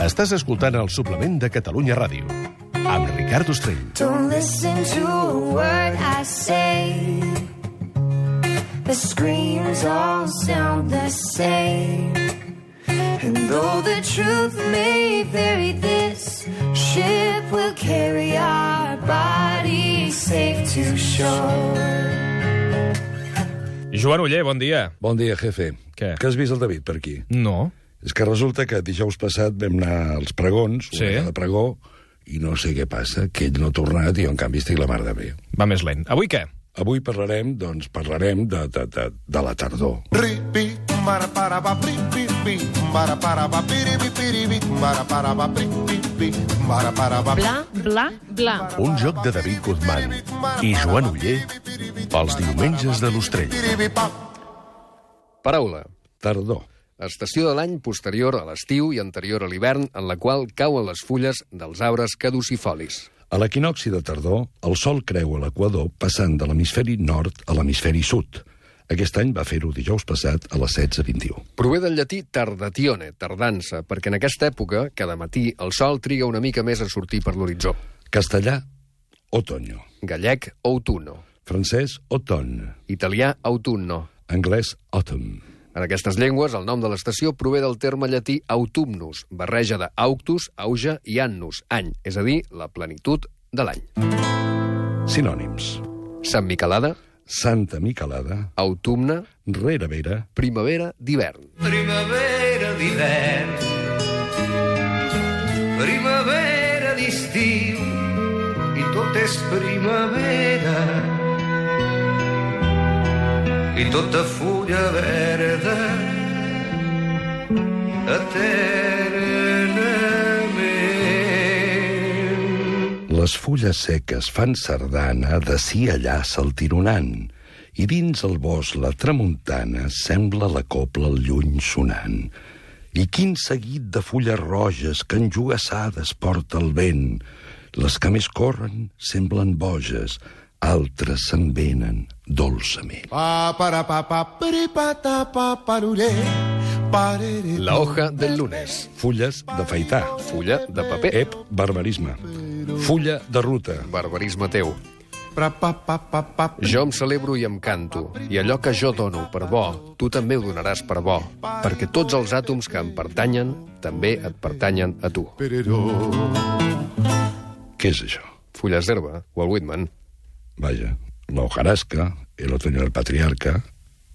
Estàs escoltant el suplement de Catalunya Ràdio amb Ricard Ostrell. Don't listen to a word I say. The screams all sound the same. And though the truth may vary, this ship will carry our bodies safe to shore. Joan Uller, bon dia. Bon dia, jefe. Què? Que has vist el David per aquí? No. És que resulta que dijous passat vam anar als pregons, Sí. una vegada a pregó, i no sé què passa, que ell no ha tornat i jo, en canvi, estic la mar de bé. Va més lent. Avui què? Avui parlarem, doncs, parlarem de, de, de, de la tardor. Ripi, mara para ba pri pi pi, mara para ba piri pi piri pi, mara para ba pri pi pi, mara para ba Bla, bla, bla. Un joc de David Guzmán i Joan Uller els diumenges de l'Ostrell. piri pi pa. Paraula. Tardor. Estació de l'any posterior a l'estiu i anterior a l'hivern en la qual cauen les fulles dels arbres caducifolis. A l'equinoxi de tardor, el Sol creu a l'equador passant de l'hemisferi nord a l'hemisferi sud. Aquest any va fer-ho dijous passat a les 16.21. Prové del llatí tardatione, tardança, perquè en aquesta època, cada matí, el sol triga una mica més a sortir per l'horitzó. Castellà, otoño. Gallec, autunno. Francès, automne. Italià, autunno. Anglès, autumn. En aquestes llengües, el nom de l'estació prové del terme llatí autumnus, barreja de auctus, auge i annus, any, és a dir, la plenitud de l'any. Sinònims. Sant Miquelada, Santa Micalada, autumne, Rerevera, primavera d'hivern. Primavera d'hivern Primavera d'estiu I tot és primavera I tota fulla verda Eternament les fulles seques fan sardana de si allà saltironant, i dins el bosc la tramuntana sembla la copla al lluny sonant. I quin seguit de fulles roges que enjugassades porta el vent. Les que més corren semblen boges, altres se'n venen dolçament. Pa para pa pa pri pa ta pa parure. Parere. La hoja del lunes, Fulles d'afaitar. fulla de paper, Eh, Ep, barbarisme. Fulla de ruta. barbarisme teu. Pra pa pa pa pa. Jo em celebro i em canto, i allò que jo dono per bo, tu també ho donaràs per bo, perquè tots els àtoms que em pertanyen també et pertanyen a tu. Pereró. Què és això? Fulles d'herba, Walt Whitman. Vaja, la hojarasca, el otoño del patriarca,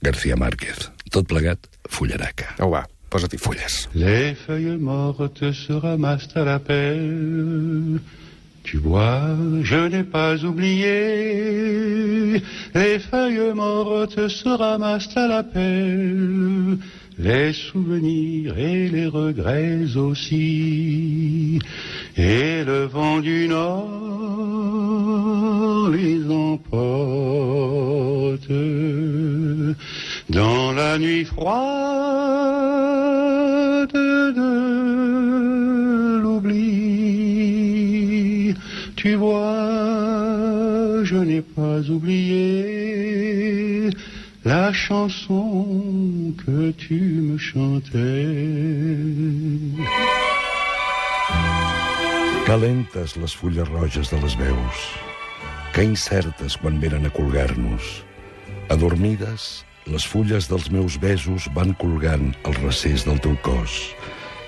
García Márquez. Tot plegat, fullaraca. Au va, posa-t'hi fulles. Les feuilles mortes se ramassent à la pelle. Tu vois, je n'ai pas oublié. Les feuilles mortes se ramassent à la pelle. Les souvenirs et les regrets aussi. Et le vent du nord les emporte. Dans la nuit froide de l'oubli, tu vois, je n'ai pas oublié la chanson que tu me chantais. Calentes les fulles roges de les veus, que incertes quan venen a colgar-nos. Adormides, les fulles dels meus besos van colgant al recés del teu cos.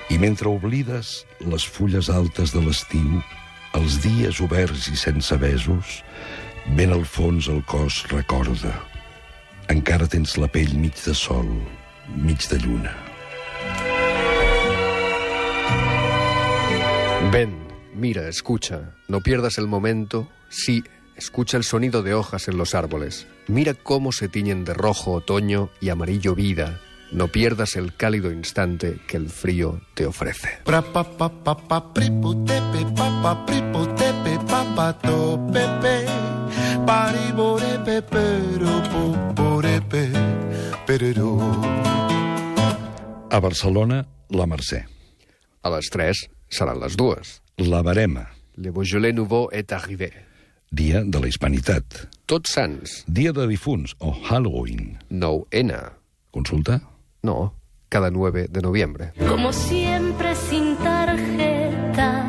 I mentre oblides les fulles altes de l'estiu, els dies oberts i sense besos, ben al fons el cos recorda. Encara tens la pell mig de sol, mig de lluna. Ven, mira, escucha. No pierdas el momento. Sí, escucha el sonido de hojas en los árboles. Mira cómo se tiñen de rojo otoño y amarillo vida. No pierdas el cálido instante que el frío te ofrece. Pra pa pa pa pa pri pu te pe pa pa pri pu te pe pa pa to pe pe. Pari bo re pe pe ro po po re pe. Pereró. A Barcelona, la Mercè. A les 3 seran les dues. La Barema, Le Beaujolais Nouveau est arrivé. dia de la hispanitat. Tots sants. Dia de difunts o Halloween. 9N. Consulta. No, cada 9 de noviembre. Como siempre sin tarjeta.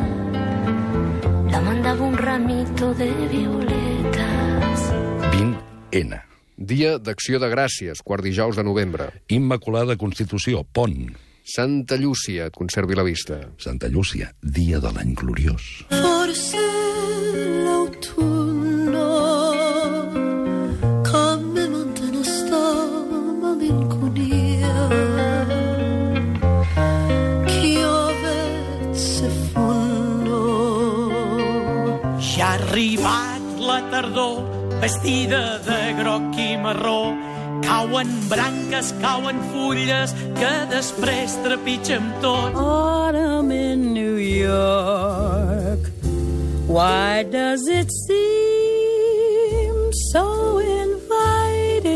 ramito de violetas. 20N. Dia d'Acció de Gràcies, quart dijous de novembre. Immaculada Constitució, pont. Santa Llúcia, et conservi la vista. Santa Llúcia, dia de l'any gloriós. Forse l'autunno come mantiene stoma malinconia chiove se fondo Ja ha arribat la tardor, vestida de groc i marró. Cauen branques, cauen fulles, que després trepitgem tot. autumn in New York. Why does it seem so inviting?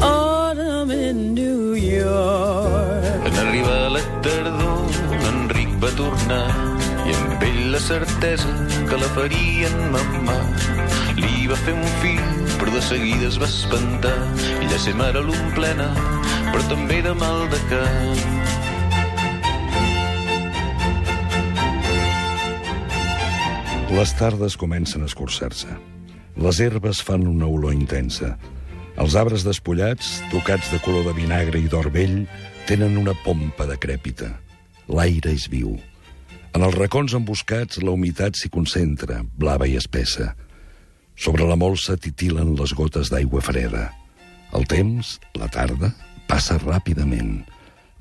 Autumn in New York. En arribar la tardor, l'Enric va tornar i amb ell la certesa que la farien mamà. Li va fer un fill, però de seguida es va espantar. I la seva mare l'omplena, però també de mal de cap. Les tardes comencen a escurçar-se. Les herbes fan una olor intensa. Els arbres despullats, tocats de color de vinagre i d'or vell, tenen una pompa decrèpita. L'aire és viu. En els racons emboscats, la humitat s'hi concentra, blava i espessa. Sobre la molsa titilen les gotes d'aigua freda. El temps, la tarda, passa ràpidament.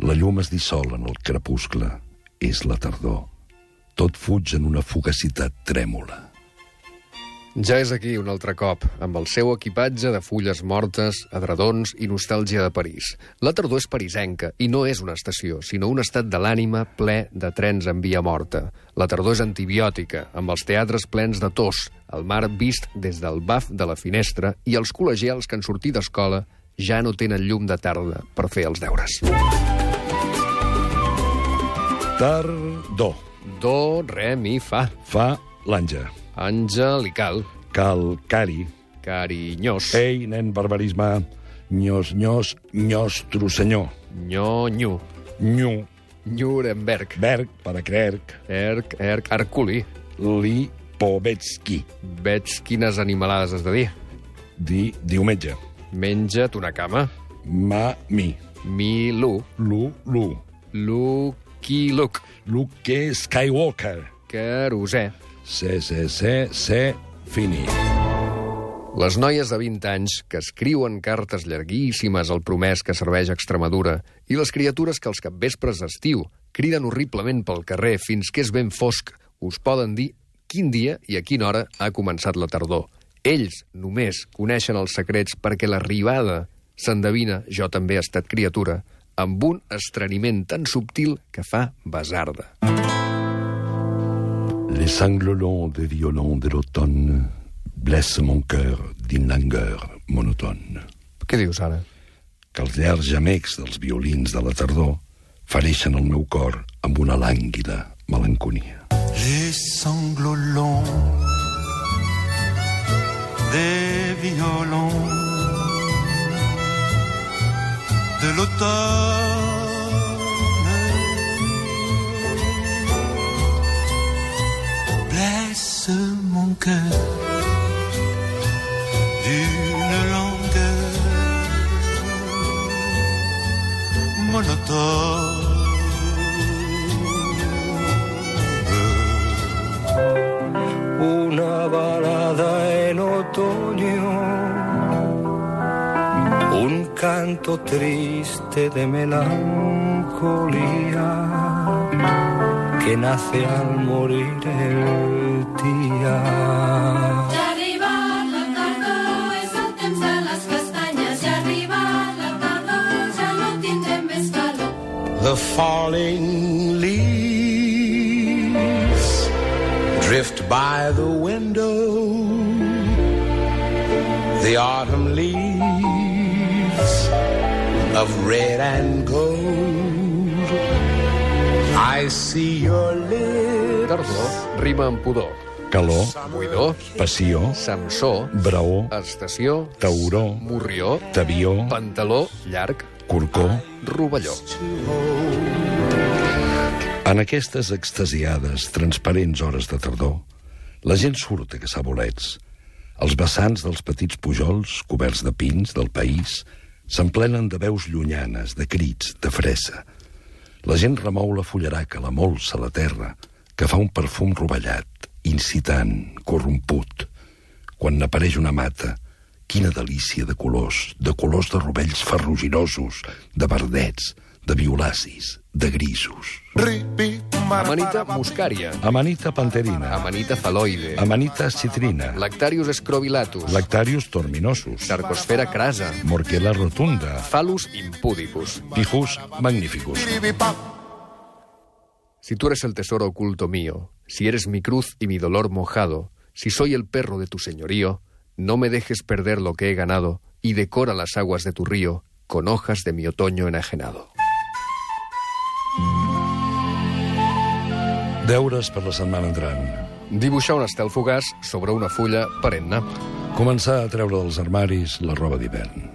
La llum es dissol en el crepuscle. És la tardor. Tot fuig en una fugacitat trèmola. Ja és aquí un altre cop, amb el seu equipatge de fulles mortes, adredons i nostàlgia de París. La tardor és parisenca, i no és una estació, sinó un estat de l'ànima ple de trens en via morta. La tardor és antibiòtica, amb els teatres plens de tos, el mar vist des del baf de la finestra i els col·legials que en sortir d'escola ja no tenen llum de tarda per fer els deures. Tardor. Do, re, mi, fa. Fa l'anja. Angelical. Calcari. Carinyós. Ei, nen, barbarisme. Nyos, nyos, nyos, trossenyor. Nyonyo. Nyu, Nuremberg. berg, para creerc. Erc, erc, Herculi. Lipovetsky. Veig quines animalades has de dir. Di, diumenge. Menja't una cama. Ma, mi. Milu. Lu, lu. Lucky Luke. Luke Skywalker. Carosè. Se, se, se, se, fini. Les noies de 20 anys que escriuen cartes llarguíssimes al promès que serveix a Extremadura i les criatures que als capvespres d'estiu criden horriblement pel carrer fins que és ben fosc us poden dir quin dia i a quina hora ha començat la tardor. Ells només coneixen els secrets perquè l'arribada s'endevina, jo també he estat criatura, amb un estreniment tan subtil que fa basarda. Les sanglots des violons de l'automne blessent mon cœur d'une langueur monotone. Què dius ara? que els llargs gemecs dels violins de la tardor fereixen el meu cor amb una lànguida melanconia. Les sanglots longs des violons de l'automne blessent mon cœur d'une langueur monotone. Una balada en otoño, un canto triste de melancolía que nace al morir el día. e arriba la tardor és el temps de les castanyes i arriba la tardor ja no tindrem més calor The falling leaves drift by the window. The autumn leaves of red and gold. I see your lips. Tardor rima amb pudor. Calor, Buidor, passió, Samsó, braó, Estació, tauró, Morrió, tabió, Pantaló, llarg, corcó, Rovelló. En aquestes extasiades, transparents hores de tardor, la gent surt a caçar bolets. Els vessants dels petits pujols, coberts de pins del país, s'emplenen de veus llunyanes, de crits, de fressa. La gent remou la fullaraca, la molsa, la terra, que fa un perfum rovellat, incitant, corromput. Quan n'apareix una mata, quina delícia de colors, de colors de rovells ferruginosos, de verdets, de violacis, de grisos. Amanita muscaria. Amanita panterina, Amanita faloide. amanita citrina, Lactarius scrovilatus. lactarius torminosus, Sarcosfera crasa. morquela rotunda, Phallus impudicus. pijus magnificus. Si tú eres el tesoro oculto mío, si eres mi cruz y mi dolor mojado, si soy el perro de tu señorío, no me dejes perder lo que he ganado y decora las aguas de tu río con hojas de mi otoño enajenado. Deures per la setmana entrant. Dibuixar un estel fugaç sobre una fulla perenne. Començar a treure dels armaris la roba d'hivern.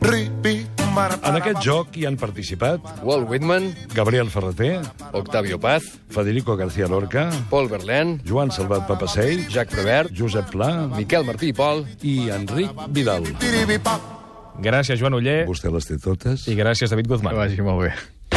En aquest joc hi han participat Walt Whitman, Gabriel Ferreter, Octavio Paz, Federico García Lorca, Paul Verlaine, Joan Salvat Papasell, Jacques Prévert, Josep Pla Miquel Martí i Pol. i Enric Vidal. Gràcies, Joan Uller, Vostè les té totes? i gràcies, David Guzmán. vagi molt bé.